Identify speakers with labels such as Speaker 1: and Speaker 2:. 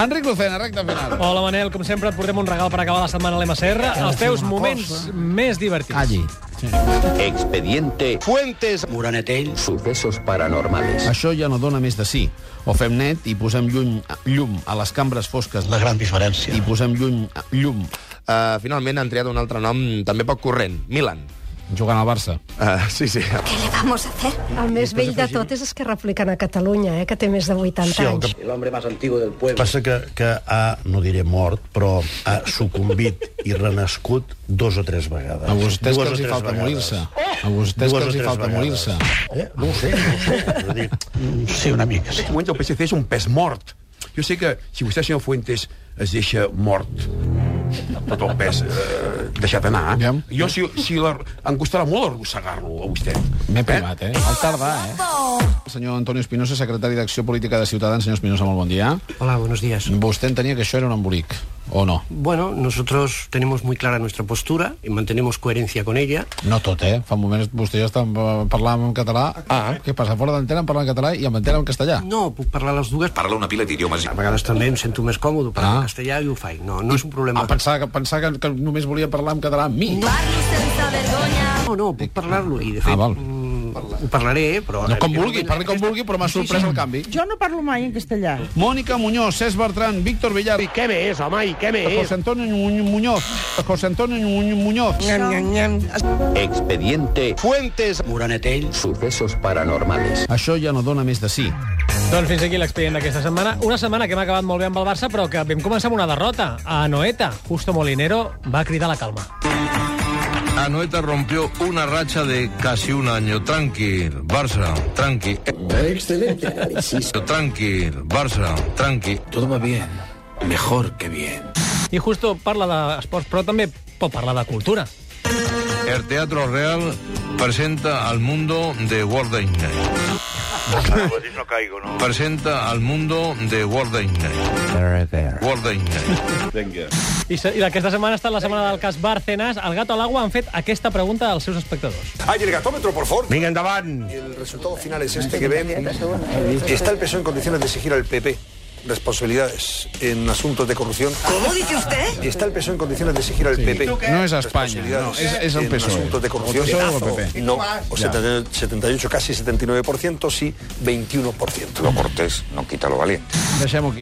Speaker 1: Enric Lucena, recta final.
Speaker 2: Hola, Manel. Com sempre, et portem un regal per acabar la setmana a l'MCR. Els teus moments més divertits.
Speaker 3: Calli.
Speaker 4: Expediente
Speaker 1: Fuentes.
Speaker 4: Moranetell. Sucesos paranormales.
Speaker 3: Això ja no dona més de sí. O fem net i posem llum, llum a les cambres fosques
Speaker 5: La gran diferència.
Speaker 3: i posem llum, llum
Speaker 6: Uh, finalment han triat un altre nom també poc corrent, Milan.
Speaker 3: jugant al Barça.
Speaker 6: Uh, sí, sí.
Speaker 7: ¿Qué le vamos a hacer?
Speaker 8: El més vell de tot és Esquerra Republicana a Catalunya, eh, que té més de 80
Speaker 5: Sí, el
Speaker 8: anys.
Speaker 5: que passa que, que ha, no diré mort, però ha sucumbit i renascut dos o tres vegades.
Speaker 3: A vostès
Speaker 5: Dues
Speaker 3: que
Speaker 5: o
Speaker 3: els hi
Speaker 5: tres
Speaker 3: falta
Speaker 5: vegades. Oh!
Speaker 3: morir-se. A
Speaker 5: Dues
Speaker 3: vostès que
Speaker 5: o
Speaker 3: els hi
Speaker 5: tres
Speaker 3: falta
Speaker 5: vegades.
Speaker 3: morir-se.
Speaker 5: Eh? No ho sé, no ho sé. Vull dir, mm, Sí, una mica, sí.
Speaker 9: moments el PSC és un pes mort. Jo sé que si vostè, senyor Fuentes, es deixa mort tot el pes eh, deixat anar.
Speaker 3: Aviam.
Speaker 9: Jo, si, si la, em costarà molt arrossegar-lo, a vostè.
Speaker 3: M'he privat, eh? Al tardar, eh? El senyor Antonio Espinosa, secretari d'Acció Política de Ciutadans. Senyor Espinosa, molt bon dia.
Speaker 10: Hola, buenos días.
Speaker 5: Mm.
Speaker 3: Vostè entenia que això era un embolic, o no?
Speaker 10: Bueno, nosotros tenemos muy clara nuestra postura y mantenemos coherencia con ella.
Speaker 3: No tot, eh? Fa un moment vostè ja estava eh, parlant en català. Ah. Què passa? Fora d'antena em parla en català i en antena en castellà.
Speaker 10: No, puc parlar les dues,
Speaker 4: Parla una pila d'idiomes.
Speaker 10: a vegades també em sento més còmode
Speaker 3: Ah.
Speaker 10: parlant ah. castellà i ho faig. No, no és un problema.
Speaker 3: Ah, pensava, que, pensava que, que només volia parlar en català amb mi. No,
Speaker 10: No, no, puc parlar-lo i de
Speaker 3: Ah,
Speaker 10: fet
Speaker 3: val.
Speaker 10: mm, ho parlaré, però...
Speaker 3: no com vulgui, parli com vulgui, però m'ha sorprès el canvi.
Speaker 8: Jo no parlo mai en castellà.
Speaker 3: Mónica Muñoz, Cesc Bertran, Víctor Villar... I què més, home, i què més? José Antonio Muñ- Muñoz, José Antonio Muñ- Muñoz.
Speaker 4: Expediente
Speaker 1: Fuentes.
Speaker 4: Moranetell. Sucesos paranormales.
Speaker 3: Això ja no dona més de sí.
Speaker 2: Doncs fins aquí l'expedient d'aquesta setmana. Una setmana que hem acabat molt bé amb el Barça, però que vam començar amb una derrota. A Noeta, Justo Molinero va cridar la calma.
Speaker 6: Anoeta rompió una racha de casi un año. Tranquil, Barça, tranqui.
Speaker 4: Excelente análisis.
Speaker 6: Tranquil, Barça, tranqui.
Speaker 4: Todo va bien. Mejor que bien.
Speaker 2: I Justo parla d'esports, però també pot parlar de cultura.
Speaker 6: El Teatro Real presenta al mundo de Walt Disney.
Speaker 5: Pues No caigo, no.
Speaker 6: Presenta al mundo de Walt Disney. Walt Disney.
Speaker 2: I, se, i aquesta setmana ha estat la setmana del cas Bárcenas. El Gato a l'Agua han fet aquesta pregunta als seus espectadors.
Speaker 9: Ai, el gatómetro, por favor.
Speaker 5: Vinga, endavant.
Speaker 9: El resultado final es este que ven. Está el PSOE en condiciones de exigir al PP responsabilidades en asuntos de corrupción. ¿Cómo dice usted? Está el PSOE en condiciones de exigir al PP.
Speaker 3: No és a Espanya, no, és, és el PSOE.
Speaker 9: asuntos de
Speaker 3: O
Speaker 9: corrupción.
Speaker 3: PSOE o el PP.
Speaker 9: No, o 78, casi 79%, sí, 21%.
Speaker 4: Lo cortés no quita lo valiente.
Speaker 3: Deixem-ho aquí.